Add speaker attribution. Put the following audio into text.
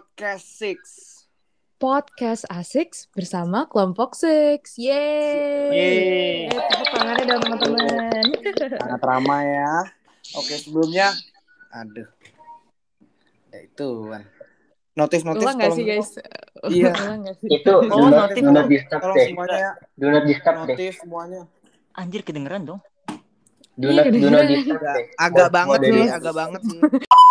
Speaker 1: Podcast Six.
Speaker 2: podcast A6 bersama kelompok 6. Yeay.
Speaker 1: Yeay.
Speaker 2: Tepuk tangannya dong teman-teman.
Speaker 1: Sangat ramai ya. Oke, sebelumnya aduh. Ya itu kan. Notif notif
Speaker 2: Ulang nggak sih guys?
Speaker 1: Iya.
Speaker 2: Ulang nggak sih?
Speaker 3: itu
Speaker 1: Oh,
Speaker 3: do not,
Speaker 1: notif.
Speaker 3: do not disturb
Speaker 1: Tolong
Speaker 3: deh
Speaker 1: semuanya ya.
Speaker 3: do not disturb deh
Speaker 1: Notif semuanya.
Speaker 4: Anjir kedengeran dong.
Speaker 3: do not do not disturb
Speaker 1: Agak,
Speaker 3: deh
Speaker 1: agak
Speaker 3: Buat- buat
Speaker 1: banget
Speaker 3: dari-
Speaker 1: sih, agak banget sih.